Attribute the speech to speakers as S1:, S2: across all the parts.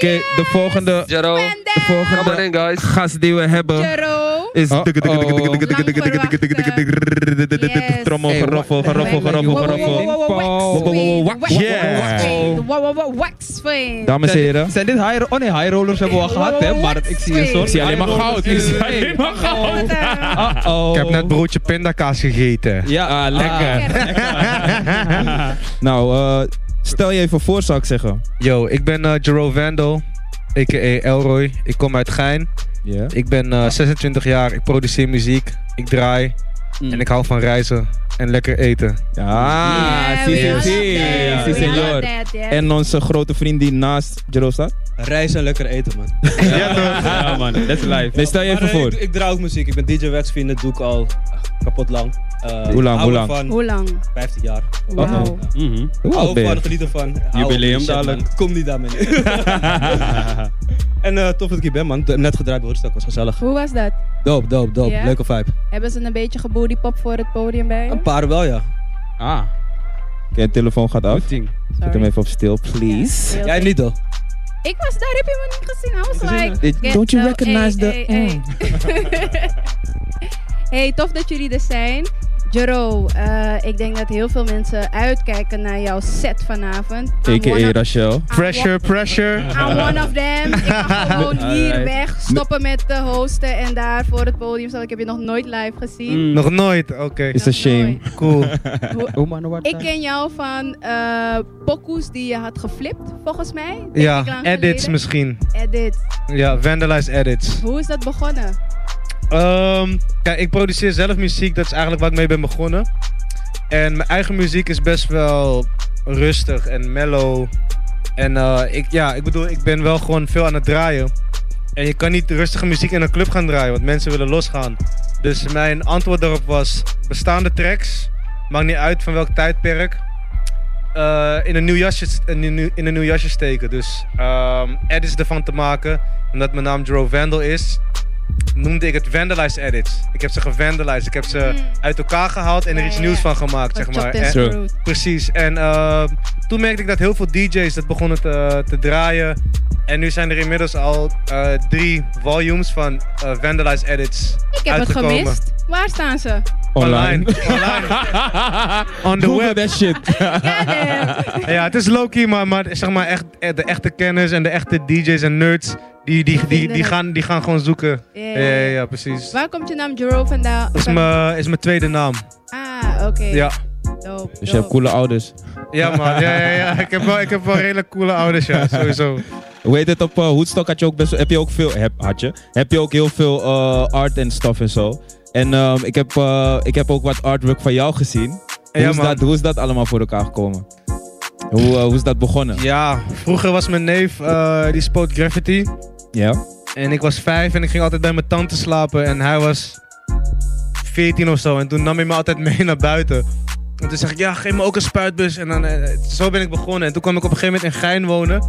S1: Oké, de volgende,
S2: Jero,
S1: de
S2: come on
S1: volgende
S2: in guys.
S1: gast die we hebben
S3: Jero.
S1: is...
S4: Oh, oh.
S3: Yes.
S1: Trommel,
S5: oh.
S3: Hey,
S1: geroffel,
S3: wa-
S1: geroffel,
S3: wa-
S1: geroffel,
S3: wa- wa- wa-
S1: geroffel.
S3: wa- wa-
S4: Wow.
S3: waxfade, wa-
S1: Wow.
S3: wa-
S1: Yeah.
S3: waxfade, wa- wa- wa- waxfade.
S1: Dames en heren,
S4: Zijn dit high, oh nee, high rollers hebben we al gehad, hè? Maar ik zie een soort.
S3: Ik zie
S1: alleen maar
S4: high rollers
S1: goud. Ik zie
S4: in de
S1: alleen maar
S4: game.
S3: Wat, eh,
S4: Uh oh.
S5: Ik heb net broodje pindakaas gegeten.
S4: Ja,
S1: Ah.
S4: lekker.
S3: lekker.
S1: nou, eh, stel je even voor zou ik zeggen.
S5: Yo, ik ben eh Jero Vandal, a.k.a. Elroy. Ik kom uit Gein.
S1: Ja.
S5: Ik ben eh, 26 jaar, ik produceer muziek, ik draai
S1: Mm.
S5: en ik hou van reizen en lekker eten.
S1: Ah,
S3: Yeah,
S1: zie,
S3: we
S1: zie,
S3: love
S1: zie,
S3: that,
S1: zie,
S3: we love
S1: senor.
S3: that, yeah.
S1: En onze grote vriend die naast Jero staat.
S6: Reizen en lekker eten, man.
S4: Ja, ja, man. That's life.
S1: Nee, stel je
S6: Maar,
S1: even
S6: eh,
S1: voor.
S6: Ik, ik draai ook muziek. Ik ben DJ Waxveen. Dat doe ik al ah, kapot lang. Eh,
S1: Hoe lang,
S6: hou
S1: hoe lang?
S6: ervan.
S3: Hoe lang?
S6: 15 jaar.
S3: Wauw.
S4: Mhm.
S1: Hoe oud
S6: Hou
S1: ben
S6: ervan,
S1: je?
S6: geniet ervan. Hou
S4: Jubileum
S6: op die shit,
S4: dadelijk.
S6: man. Kom niet daarmee. en eh, tof dat ik hier ben, man. Net gedraaid bij Woodstock was gezellig.
S3: Hoe was dat?
S6: Doop, doop, doop.
S3: Ja?
S6: Leuke vibe.
S3: Hebben ze een beetje gebodypop voor het podium bij je?
S6: Een paar wel, ja.
S4: Ah,
S1: Oké, de telefoon gaat af.
S4: goed ding.
S1: Zet hem even op stil, please.
S3: Heel
S6: Jij
S3: goed.
S6: niet, hoor.
S3: Ik was daar, heb je me niet gezien? I was like,
S1: Dit-
S3: get
S1: don't you
S3: the-
S1: recognize
S3: hey,
S1: the-
S3: Hey, hey. Hey, tof dat jullie er zijn. Jero, eh, ik denk dat heel veel mensen uitkijken naar jouw set vanavond. I'm one
S1: A.k.a.
S3: of-
S1: eh, Rachel.
S3: I'm
S5: Pressure, pressure.
S3: one- I'm one of them. Ik ga gewoon hier
S4: Alright.
S3: weg, stoppen met de hosten en daar voor het podium staan. Ik heb je nog nooit live gezien.
S4: Mm.
S5: Nog nooit, oké.
S1: Is a
S3: Nog
S1: shame.
S3: nooit.
S5: Cool.
S4: Oh man, wat
S3: Ik ken jou van eh pokoes die je had geflipt, volgens mij. denk ik
S5: Ja,
S3: lang
S5: edits
S3: geleden.
S5: misschien.
S3: Edits.
S5: Ja, vandalized edits.
S3: Hoe is dat begonnen?
S5: Ehm, kijk, ik produceer zelf muziek, dat is eigenlijk waar ik mee ben begonnen. En mijn eigen muziek is best wel rustig en mellow. En eh, ik, ja, ik bedoel, ik ben wel gewoon veel aan het draaien. En je kan niet rustige muziek in een club gaan draaien, want mensen willen losgaan. Dus mijn antwoord daarop was bestaande tracks, maakt niet uit van welk tijdperk, eh, in, een nieuw jasje, in, een nieuw, in een nieuw jasje steken. Dus ehm, edits ervan te maken, omdat mijn naam Joe Vandal is, noemde ik het vandalized edits. Ik heb ze gevandalized. Ik heb ze
S3: Mm.
S5: uit elkaar gehaald en
S3: Ja,
S5: er iets
S3: ja,
S5: nieuws
S3: ja.
S5: van gemaakt, zeg
S3: Van
S5: maar.
S3: Chopped and
S5: En-
S1: Zo.
S3: Screwed.
S5: precies. En ehm, toen merkte ik dat heel veel DJ's dat begonnen te, te draaien. En nu zijn er inmiddels al eh, drie volumes van eh, vandalized edits
S3: Ik heb het
S5: uitgekomen.
S3: gemist. Waar staan ze?
S1: Online.
S5: Online. On the
S1: Google
S5: web.
S1: that shit.
S3: Goddamn.
S5: Ja, het is low-key, maar, maar zeg maar echt, eh, de echte kenners en de echte DJ's en nerds, die, die, die, die, gaan, die gaan gewoon zoeken.
S3: Ja,
S5: Ja, ja, ja, precies.
S3: Waar komt je naam Jero vandaan?
S5: Dat is
S3: Van-
S5: mijn is mijn tweede naam.
S3: Ah, oké.
S5: Ja.
S3: Dope,
S1: Dus je
S3: dope.
S1: hebt coole ouders.
S5: Ja, man. Ja, ja, ja. Ik, heb wel, ik heb wel redelijk coole ouders, ja. Sowieso.
S1: Hoe heet het op eh, Woodstock? Had je ook best, heb je ook veel, heb, had je, heb je ook heel veel eh, art en stuff en zo. En ehm, ik, heb, eh, ik heb ook wat artwork van jou gezien. Hoe,
S5: Ja,
S1: is,
S5: man.
S1: dat, hoe is dat allemaal voor elkaar gekomen? Hoe, eh, hoe is dat begonnen?
S5: Ja, vroeger was mijn neef, eh, die spoot graffiti.
S1: Ja?
S5: En ik was vijf en ik ging altijd bij mijn tante slapen. En hij was veertien of zo. En toen nam hij me altijd mee naar buiten. En toen zeg ik, ja, geef me ook een spuitbus. En dan, eh, zo ben ik begonnen. En toen kwam ik op een gegeven moment in Gein wonen.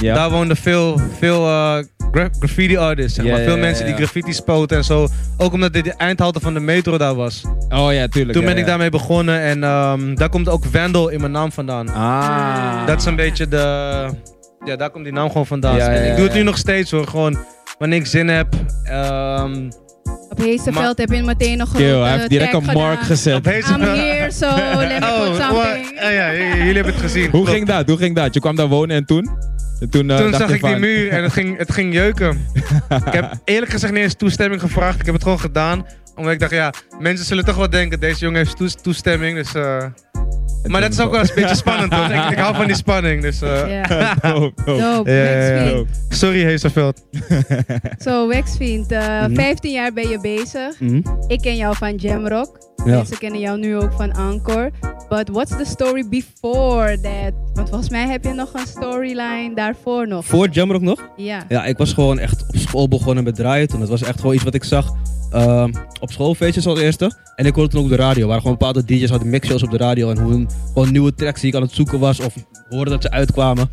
S1: Ja.
S5: Daar woonden veel, veel eh, gra- graffiti artists, zeg
S1: Ja,
S5: maar.
S1: ja,
S5: Veel
S1: ja,
S5: mensen
S1: ja.
S5: die graffiti spoten en zo. Ook omdat dit de eindhalte van de metro daar was.
S1: Oh ja, tuurlijk.
S5: Toen
S1: ja,
S5: ben ik
S1: ja.
S5: daarmee begonnen en ehm, daar komt ook Wendel in mijn naam vandaan.
S1: Ah.
S5: Dat is een beetje de... Ja, daar komt die naam gewoon vandaan.
S1: Ja,
S5: en
S1: ja,
S5: ik doe het
S1: ja.
S5: nu nog steeds hoor, gewoon wanneer ik zin heb. ehm,
S3: Op Heesterveld heb je meteen nog een
S1: Kill,
S3: grote
S1: hij heeft direct
S3: tag
S1: een mark
S3: gedaan.
S1: gezet.
S5: op deze...
S3: I'm here, so let me put
S5: oh, wa-
S3: something.
S5: eh, ja, j- j- jullie hebben het gezien.
S1: Hoe
S5: Klopt.
S1: ging dat? Hoe ging dat? Je kwam daar wonen en toen? En toen eh,
S5: Toen
S1: dacht
S5: zag
S1: je
S5: ik die
S1: van-
S5: muur en het ging, het ging jeuken. ik heb eerlijk gezegd niet eens toestemming gevraagd. Ik heb het gewoon gedaan. Omdat ik dacht, ja, mensen zullen toch wel denken, deze jongen heeft toes- toestemming. Dus, eh,
S1: en
S5: maar dat is
S1: toen-
S5: ook wel eens een beetje spannend. hoor. Ik, ik hou van die spanning. Dus, eh,
S3: Ja,
S1: Dope, dope.
S3: dope.
S5: Ja, ja, ja.
S3: Waxfiend.
S5: Sorry, Heesterveld.
S3: Zo, Waxfiend, eh,
S6: Mhm.
S3: 15 jaar ben je bezig.
S4: Mhm.
S3: Ik ken jou van Jamrock. Mensen kennen jou nu ook van Anchor. But what's the story before that? Want volgens mij heb je nog een storyline daarvoor nog.
S6: Voor Jamrock nog?
S3: Ja.
S6: Ja, ik was gewoon echt op school begonnen met draaien toen. Dat was echt gewoon iets wat ik zag ehm, op schoolfeestjes als eerste. En ik hoorde toen ook op de radio, waar gewoon bepaalde DJ's hadden mixshows op de radio. En hoe hun gewoon nieuwe tracks die ik aan het zoeken was of hoorde dat ze uitkwamen.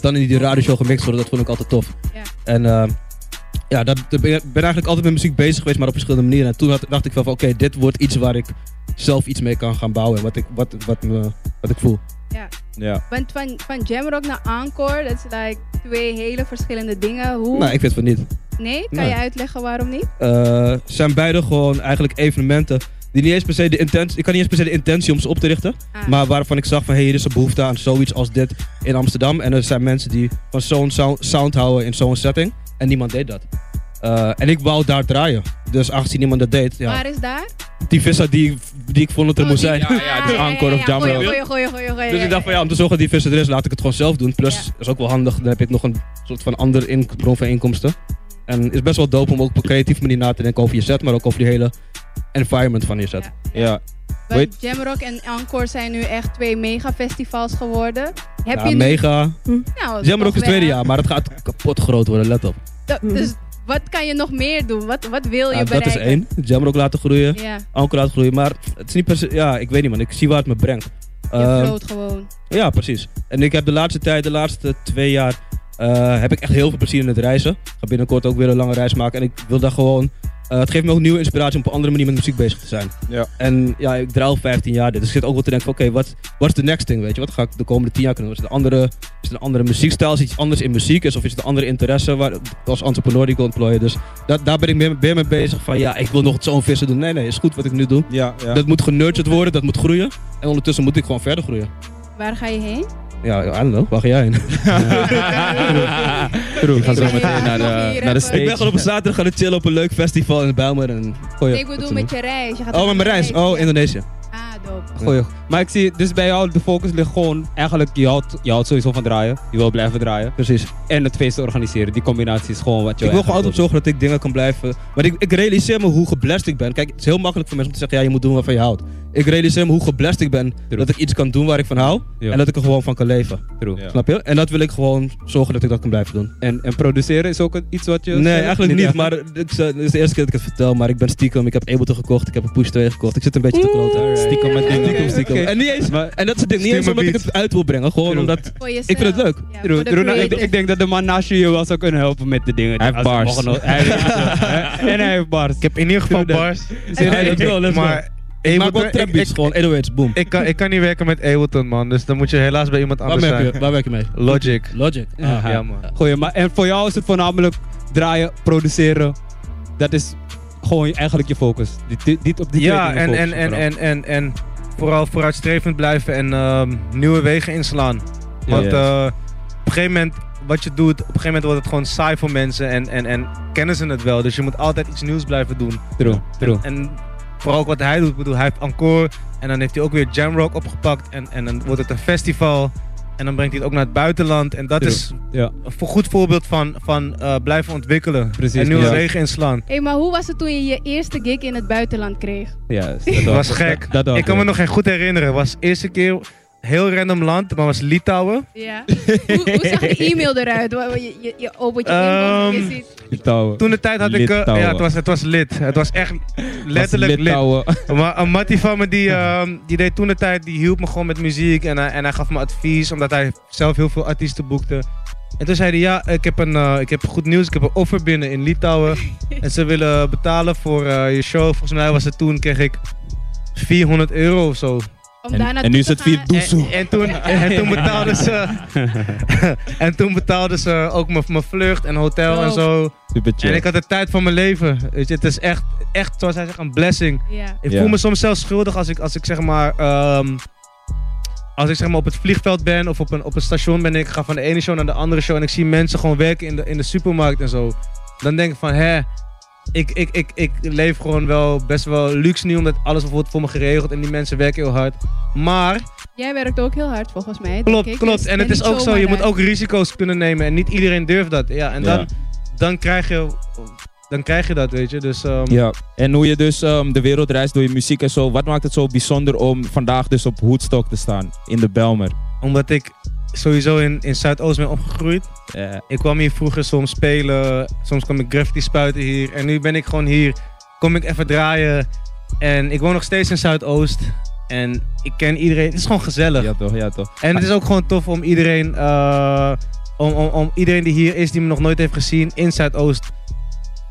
S6: Dan in die radioshow gemixt worden, dat vond ik altijd tof.
S3: Ja.
S6: En ehm, ja, dat, ik ben eigenlijk altijd met muziek bezig geweest, maar op verschillende manieren. En toen had- dacht ik wel van, oké, dit wordt iets waar ik zelf iets mee kan gaan bouwen. en Wat ik, wat, wat, me, wat ik voel.
S3: Ja.
S1: Ja.
S3: Want van, van Jamrock naar Encore, dat is like twee hele verschillende dingen. Hoe?
S6: Nou, ik vind van niet.
S3: nee? Kan
S6: Nee.
S3: je uitleggen waarom niet?
S6: Eh, zijn beide gewoon eigenlijk evenementen die niet eens per se de intentie, ik kan niet eens per se de intentie om ze op te richten,
S3: Ah,
S6: maar waarvan ik zag van hey, hier is een behoefte aan zoiets als dit in Amsterdam en er zijn mensen die van zo'n sound, sound houden in zo'n setting en niemand deed dat. Eh, en ik wou daar draaien, dus aangezien niemand dat deed, ja,
S3: waar is daar?
S6: die vissa die, die ik vond dat er
S3: Oh,
S6: moest
S3: die-
S6: zijn.
S1: Ja, ja, dus Encore of Jamrock.
S3: Goeie, goeie, goeie, goeie, goeie,
S6: Dus ik dacht van ja, om te zorgen dat die visser er is, laat ik het gewoon zelf doen. Plus,
S3: Ja.
S6: dat is ook wel handig, dan heb ik nog een soort van andere in- bron van inkomsten. En het is best wel dope om ook op een creatieve manier na te denken over je set, maar ook over die hele environment van je set.
S3: Ja.
S1: Ja.
S3: Want Jamrock en Encore zijn nu echt twee mega festivals geworden. Heb
S6: Ja,
S3: je nu-
S6: mega.
S3: Nou,
S6: Jamrock is
S3: toch
S6: het tweede
S3: wel.
S6: jaar, maar het gaat kapot groot worden, let op.
S3: Da- Dus wat kan je nog meer doen? Wat, wat wil je
S6: Ja, dat
S3: bereiken?
S6: is één. Jamrock laten groeien,
S3: Ja, je
S6: Anker laten groeien, maar het is niet per se, ja, ik weet niet man, ik zie waar het me brengt. Ehm,
S3: float gewoon.
S6: Ja, precies. En ik heb de laatste tijd, de laatste twee jaar, eh, heb ik echt heel veel plezier in het reizen. Ik ga binnenkort ook weer een lange reis maken. En ik wil daar gewoon. eh, het geeft me ook nieuwe inspiratie om op een andere manier met muziek bezig te zijn.
S1: Ja.
S6: En ja, ik draai al 15 jaar dit. Dus ik zit ook wel te denken: van, oké, wat wat is de next thing? Weet je, wat ga ik de komende 10 jaar kunnen doen? Is het een andere, is het een andere muziekstijl? Is het iets anders in muziek? Is, of is het een andere interesse waar, als entrepreneur die ik wil ontplooien? Dus da- daar ben ik meer, meer mee bezig. Van ja, ik wil nog zo'n vissen doen. Nee, nee, is goed wat ik nu doe.
S1: Ja, ja.
S6: Dat moet genurtured worden, dat moet groeien. En ondertussen moet ik gewoon verder groeien.
S3: Waar ga je heen?
S6: Ja, I don't know. Waar ga jij heen?
S1: We gaan zo
S3: Ik ben
S1: meteen
S3: hier
S1: naar
S4: eh,
S1: de,
S3: even-
S1: naar de
S6: Ik ben
S1: stage.
S6: gewoon op een zaterdag gaan chillen op een leuk festival in Bijlmer. En gooi
S3: Nee, ik bedoel met je reis. Je gaat
S6: Oh, met mijn reis. Oh, Indonesië.
S3: Ah, dope.
S4: Goeie. Maar ik zie, dus bij jou, de focus ligt gewoon eigenlijk, je houdt, je houdt sowieso van draaien. Je wil blijven draaien.
S6: Precies.
S4: En het feest organiseren. Die combinatie is gewoon wat je
S6: Ik wil
S4: echt
S6: gewoon altijd
S4: doen.
S6: zorgen dat ik dingen kan blijven. Maar ik, ik realiseer me hoe geblest ik ben. Kijk, het is heel makkelijk voor mensen om te zeggen: ja, je moet doen waarvan je houdt. Ik realiseer me hoe geblest ik ben dat ik iets kan doen waar ik van hou.
S4: Ja.
S6: En dat ik er gewoon van kan leven.
S4: True.
S1: Ja.
S6: Snap je? En dat wil ik gewoon zorgen dat ik dat kan blijven doen.
S4: En, en produceren is ook een- iets wat je...
S6: Nee, eigenlijk niet.
S4: echt?
S6: Maar ik zou- dit is de eerste keer dat ik het vertel. Maar ik ben stiekem. Ik heb Ableton gekocht. Ik heb een Push 2 gekocht. Ik zit een beetje te kloten.
S1: Stiekem met dingen.
S6: Stiekem, stiekem.
S4: oké.
S6: En niet eens.
S4: Maar-
S6: En dat soort dingen. Niet eens
S5: Stiekem
S6: omdat ik het uit wil brengen. Gewoon
S4: True.
S6: omdat
S3: Voor jezelf.
S6: Ik vind het leuk.
S3: Ja,
S4: True,
S3: voor de
S4: true. Nou, ik,
S3: creative.
S4: ik denk dat de man naast je je wel zou kunnen helpen met de dingen.
S1: Hij heeft
S4: Als het
S1: bars.
S4: mogen- hij heeft- hè? en hij heeft bars.
S5: Ik heb in ieder geval
S4: Doe dat.
S5: bars.
S6: Ja, dat wel, let's
S5: maar
S6: Ik maak
S5: Ableton-
S6: wel trap
S5: ik-
S6: beats,
S5: ik-
S6: gewoon 808's, boom.
S5: Ik kan, ik kan niet werken met Ableton, man. Dus dan moet je helaas bij iemand
S6: waar,
S5: anders zijn.
S6: werk je, waar werk je mee?
S5: Logic. Ah,
S6: Logic. Ah,
S4: Aha.
S5: Ja, man.
S4: Goeie, maar en voor jou is het voornamelijk draaien, produceren. Dat is gewoon eigenlijk je focus. Niet- Niet, niet op die twee
S5: Ja, en,
S4: dingen
S5: en,
S4: focussen
S5: en,
S4: vooral.
S5: en, en, en vooral vooruitstrevend blijven en ehm, nieuwe wegen inslaan. Want
S1: Yes.
S5: eh, op een gegeven moment, wat je doet, op een gegeven moment wordt het gewoon saai voor mensen en, en, en kennen ze het wel. Dus je moet altijd iets nieuws blijven doen.
S4: True, true.
S5: En vooral ook wat hij doet, ik bedoel, hij heeft encore en dan heeft hij ook weer Jamrock opgepakt en, en dan wordt het een festival. En dan brengt hij het ook naar het buitenland. En dat
S4: True.
S5: is
S4: Ja.
S5: een vo- goed voorbeeld van, van eh, blijven ontwikkelen.
S4: Precies,
S5: en nieuwe
S4: ja.
S5: wegen inslaan.
S3: Hey, maar hoe was het toen je je eerste gig in het buitenland kreeg?
S4: Ja,
S5: Dat was gek.
S4: Dat, dat
S5: Ik kan me nog geen goed herinneren. Het was de eerste keer heel random land, maar was Litouwen.
S3: Ja. hoe, hoe zag die e-mail eruit? Wa- wa- Je, je, je opent je inbox en je
S5: Ehm,
S3: ziet...
S5: Toen de tijd had ik. eh, ja,
S1: Litouwen.
S5: het was, het was lid. Het was echt letterlijk lid. Maar een eh, mattie van me die, ehm, die deed toen de tijd, die hielp me gewoon met muziek. En, hij- en hij gaf me advies, omdat hij zelf heel veel artiesten boekte. En toen zei hij, ja, ik heb, een, eh, ik heb goed nieuws. Ik heb een offer binnen in Litouwen. en ze willen betalen voor eh, je show. Volgens mij was het toen, kreeg ik 400 euro of zo.
S3: Om
S1: En,
S3: daar naartoe
S1: en nu is
S3: te
S1: het via
S3: gaan.
S1: Doezoe.
S5: En, en toen, en toen betaalden ze, en toen betaalden ze ook mijn- mijn vlucht en hotel en zo.
S1: Super
S5: En ik
S1: chill.
S5: had de tijd van mijn leven. Weet je, het is echt, echt zoals hij zegt, een blessing.
S3: Ja.
S5: Ik
S1: Ja.
S5: voel me soms zelfs schuldig als ik, als ik zeg maar. ehm, als ik zeg maar op het vliegveld ben of op een, op een station ben en ik ga van de ene show naar de andere show en ik zie mensen gewoon werken in de, in de supermarkt en zo. Dan denk ik van hè, ik, ik, ik, ik leef gewoon wel best wel luxe nu omdat alles wordt voor me geregeld en die mensen werken heel hard. Maar
S3: Jij werkt ook heel hard volgens mij. denk
S5: Klopt,
S3: ik.
S5: klopt.
S3: Dus
S5: En het
S3: ben
S5: is
S3: niet
S5: ook zo,
S3: zomaar
S5: je moet
S3: daar.
S5: ook risico's kunnen nemen. En niet iedereen durft dat. Ja, en
S1: Ja.
S5: Dan, dan, krijg, je, dan krijg je dat, weet je. Dus ehm,
S1: Ja. En hoe je dus ehm, de wereld reist door je muziek en zo. Wat maakt het zo bijzonder om vandaag dus op Woodstock te staan? In de Belmer.
S5: omdat ik sowieso in, in Zuidoost ben opgegroeid.
S1: Ja.
S5: Ik kwam hier vroeger soms spelen. Soms kwam ik graffiti spuiten hier. En nu ben ik gewoon hier. Kom ik even draaien. En ik woon nog steeds in Zuidoost. En ik ken iedereen. Het is gewoon gezellig.
S1: ja toch, ja toch.
S5: En het is ook gewoon tof om iedereen, eh, om, om, om iedereen die hier is, die me nog nooit heeft gezien in Zuidoost,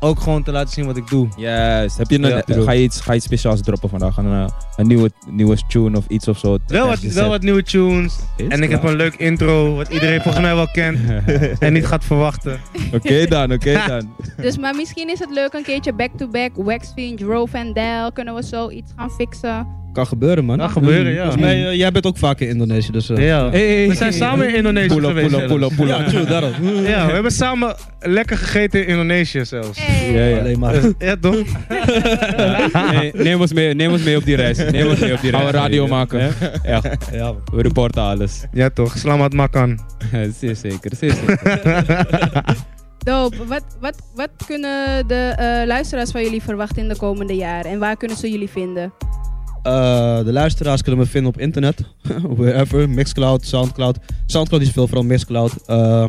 S5: ook gewoon te laten zien wat ik doe.
S1: Juist. Heb je een,
S5: Ja,
S1: eh,
S5: true.
S1: ga, je iets, ga je iets speciaals droppen vandaag? Een, eh, een nieuwe, nieuwe tune of iets of zo?
S5: Wel wat, wel wat nieuwe tunes.
S1: Is
S5: En ik heb een leuk intro, wat iedereen volgens mij wel kent. en niet gaat verwachten.
S1: Oké dan, oké dan.
S3: Dus maar misschien is het leuk een keertje back-to-back. Waxfiend, Ro Van Dijl. Kunnen we zoiets gaan fixen?
S6: Kan gebeuren, man.
S5: Kan gebeuren, ja.
S6: Volgens mij, eh, jij bent ook vaak in Indonesië, dus... eh,
S5: Ja. We zijn samen in Indonesië
S1: Pull up,
S5: geweest.
S1: pull up, pull up, pull
S6: Ja,
S1: up.
S6: true, daarom.
S5: Ja, we hebben samen lekker gegeten in Indonesië zelfs. Eh,
S3: Hey.
S1: Ja, ja.
S6: Alleen maar.
S5: Ja, toch?
S4: Nee, neem, ons mee, neem ons mee op die reis. Neem ons mee op die reis.
S1: Gaan we radio maken.
S4: Ja, we reporten alles.
S5: Ja, toch. Slamat makan.
S4: zeer zeker, zeer zeker.
S3: Dope. Wat, wat, wat kunnen de eh, luisteraars van jullie verwachten in de komende jaren? En waar kunnen ze jullie vinden?
S6: Eh, de luisteraars kunnen me vinden op internet. Wherever. Mixcloud, Soundcloud. Soundcloud is veel, vooral Mixcloud. Eh,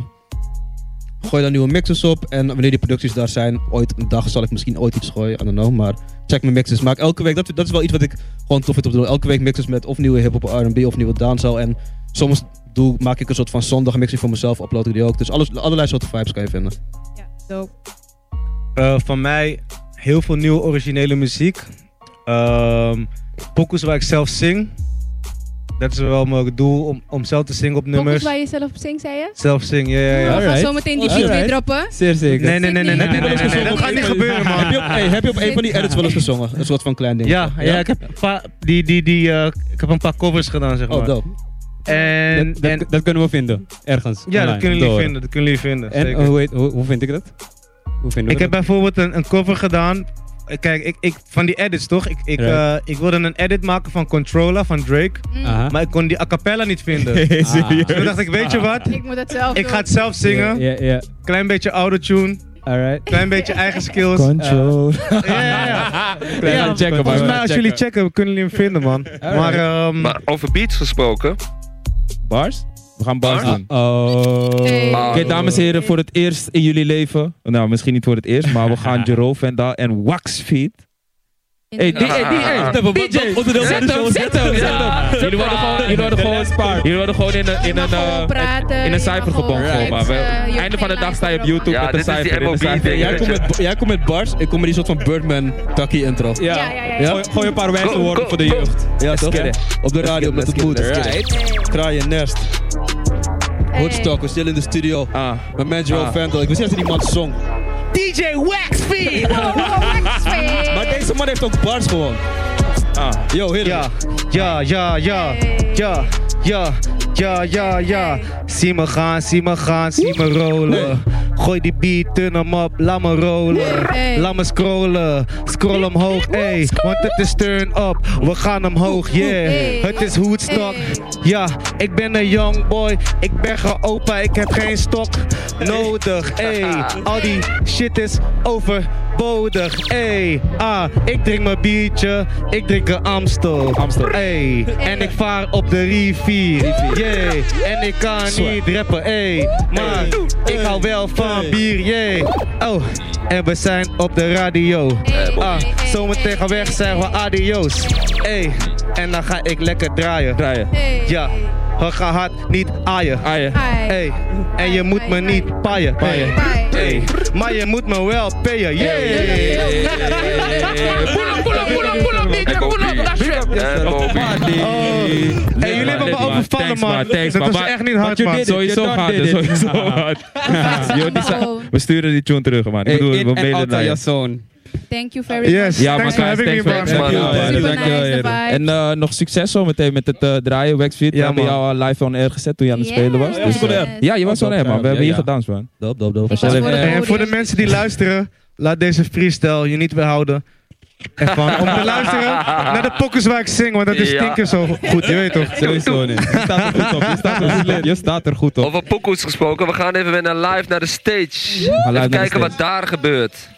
S6: gooi daar nieuwe mixes op. En wanneer die producties daar zijn, ooit een dag zal ik misschien ooit iets gooien. I don't know. Maar check mijn mixes. Maak elke week, dat, dat is wel iets wat ik gewoon tof vind om te doen. Elke week mixes met of nieuwe hip-hop, RB of nieuwe dancehall. En soms doe, maak ik een soort van zondag mixing voor mezelf. Upload ik die ook. Dus alles, allerlei soorten vibes kan je vinden.
S3: Ja, dope.
S5: Eh, van mij heel veel nieuwe originele muziek. Ehm pokus waar ik zelf zing. Dat is wel mijn doel, om, om zelf te zingen op
S3: Focus
S5: nummers.
S3: waar je zelf op zingt, zei je?
S5: Zelf zingen, ja, ja, ja.
S3: We gaan
S4: Alright.
S3: zo meteen die beat
S6: Alright.
S3: weer droppen.
S4: Zeer zeker.
S5: Nee, nee, nee, nee, nee, nee, nee, nee, nee, dat gaat niet gebeuren, man.
S6: Heb je op, hey, heb je op een van die edits wel eens gezongen? Een soort van klein ding.
S5: Ja, ja, ik heb een paar, die, die, die, eh, ik heb een paar covers gedaan, zeg maar.
S6: Oh, dope.
S5: En,
S4: Dat, dat,
S5: en
S4: dat kunnen we vinden. Ergens.
S5: ja, dat
S4: online,
S5: kunnen jullie
S4: door.
S5: vinden, dat kunnen jullie vinden,
S4: En oh,
S5: zeker.
S4: hoe, heet- hoe, hoe vind ik dat? Hoe vinden we
S5: Ik heb
S4: dat?
S5: bijvoorbeeld een, een cover gedaan. Eh, Kijk, ik, ik, van die edits toch? Ik, ik,
S4: Ja.
S5: eh, ik wilde een edit maken van Controller van Drake.
S3: Mm.
S4: Aha. Ah.
S5: Maar ik kon die a cappella niet vinden. Dus
S4: serieus?
S5: Toen dacht ik, weet je wat?
S3: Ik moet het zelf
S5: Ik
S3: doen.
S5: ga het zelf zingen.
S4: Ja, ja.
S5: Klein beetje autotune.
S4: Alright.
S5: Klein beetje eigen skills.
S1: Control.
S5: Ja, ja, ja.
S4: Klein
S5: Ja,
S4: checken, maar
S5: Volgens
S4: we
S5: mij,
S4: gaan
S5: als jullie checken, kunnen jullie hem vinden, man. Maar, ehm,
S2: Maar over beats gesproken.
S1: Bars? We gaan bars doen.
S4: Oh.
S3: Hey.
S1: Oké, dames en heren, voor het eerst in jullie leven. Nou, misschien niet voor het eerst, maar we gaan Jerome Van Daal en Waxfeed. Hey, die, hey, die, hey, DJ, Ah. zet hem, zet hem, zet hem. Jullie worden gewoon, jullie worden gewoon, jullie worden gewoon in een, in een, eh, in een cijfer gebonden. gewoon, maar we-
S3: Eh,
S1: Einde van de dag sta je op YouTube
S2: Ja,
S1: met een
S2: dit is die
S1: cijfer. in een
S2: MOB
S1: cijfer.
S2: ding,
S6: Jij komt, met, jij komt met bars, ik kom met die soort van Birdman-takkie intro.
S3: Ja,
S4: Ja.
S3: ja, ja.
S6: Ja?
S4: Gooi, gooi een paar wijze
S2: Go,
S4: woorden
S2: go,
S4: voor de
S2: go.
S4: jeugd.
S6: Ja, toch?
S1: get it.
S6: Op de radio, met het moed. Kraaien nest.
S3: Hey.
S6: Woodstock, we stil in de studio.
S1: Ah.
S6: Mijn man Joe
S1: Ah.
S6: Vandal. Ik wist niet eens dat die man zong.
S3: Oh, oh, Waxfeed.
S6: Maar deze man heeft ook bars gewoon.
S1: Ah.
S6: Yo, heerlijk.
S5: ja, ja, ja, ja, ja, ja, ja, ja, ja. Zie me gaan, zie me gaan, zie me rollen. Gooi die beat, turn hem op, laat me rollen.
S3: Hey.
S5: Laat me scrollen, scroll omhoog, ey. Want het is turn up, we gaan omhoog,
S3: Hey.
S5: yeah. Het is hoedstok. Ja, ik ben een young boy, ik ben geopa, ik heb geen stok nodig, ey. Al die shit is overbodig, ey. Ah, ik drink mijn biertje, ik drink een Amstel.
S1: Amstel.
S5: Ey, en ik vaar op de rivier. Yeah, en ik kan niet rappen, ey. Maar ik hou wel van bier, yeah. Oh, en we zijn op de radio.
S3: Hey,
S5: Ah,
S3: hey, hey,
S5: zometeen gaan weg,
S3: hey,
S5: zijn we
S3: hey,
S5: adios. Ey, en dan ga ik lekker draaien.
S1: Draaien.
S3: hey.
S5: Ja, we gaan hard niet aaien.
S1: Aaien.
S3: Hi.
S5: Ey, en je moet me niet paaien.
S1: Paaien.
S3: Hi.
S5: Ey, maar je moet me wel payen, yeah.
S1: Oh.
S5: Hey, jullie hebben me overvallen,
S1: Thanks,
S5: man.
S1: Thanks,
S5: Dat
S1: man.
S5: was
S1: Maar-
S5: echt niet hard,
S1: want je
S5: man.
S1: deed het, Sowieso
S4: je
S1: gaat het,
S4: deed het.
S1: sowieso gaat het. Yo, die
S3: Wow.
S1: zijn- We sturen die tune terug, man. Ik bedoel, we
S4: in en
S1: mailen
S4: out
S1: naar
S4: aan
S1: je.
S4: je zoon.
S3: Thank you very
S5: Yes,
S3: much.
S1: Ja, maar
S5: thanks for
S1: guys,
S5: having me,
S1: thanks,
S5: man.
S1: thanks, thank you,
S2: Dankjewel,
S1: man.
S2: man.
S3: Super
S1: Dankjewel,
S3: nice,
S1: heren.
S3: de vibes.
S1: En eh, nog succes zo meteen met het eh, draaien, Waxfeed. We
S5: Ja,
S1: hebben
S5: man.
S1: jou eh, live on air gezet toen je aan het
S3: Yes.
S1: spelen was. Dus, eh,
S3: Ja, was ik on air.
S1: Ja, je was on air, man. We
S4: Ja,
S1: hebben hier
S4: ja.
S1: gedanst, man.
S6: Dope, dope, dope.
S3: Ik was voor
S5: Hey, en voor de
S3: podium.
S5: mensen die luisteren, laat deze freestyle je niet weerhouden. Ervan. Om te luisteren naar de pokkers waar ik zing, want dat is
S2: Ja.
S5: tien keer zo goed, je weet toch?
S4: Sowieso niet. Je staat er goed op. Je staat er goed op. Je staat er goed op.
S2: Over pokoes gesproken, we gaan even weer naar live naar de stage.
S1: naar
S2: Even
S1: de
S2: kijken
S1: stage.
S2: wat daar gebeurt.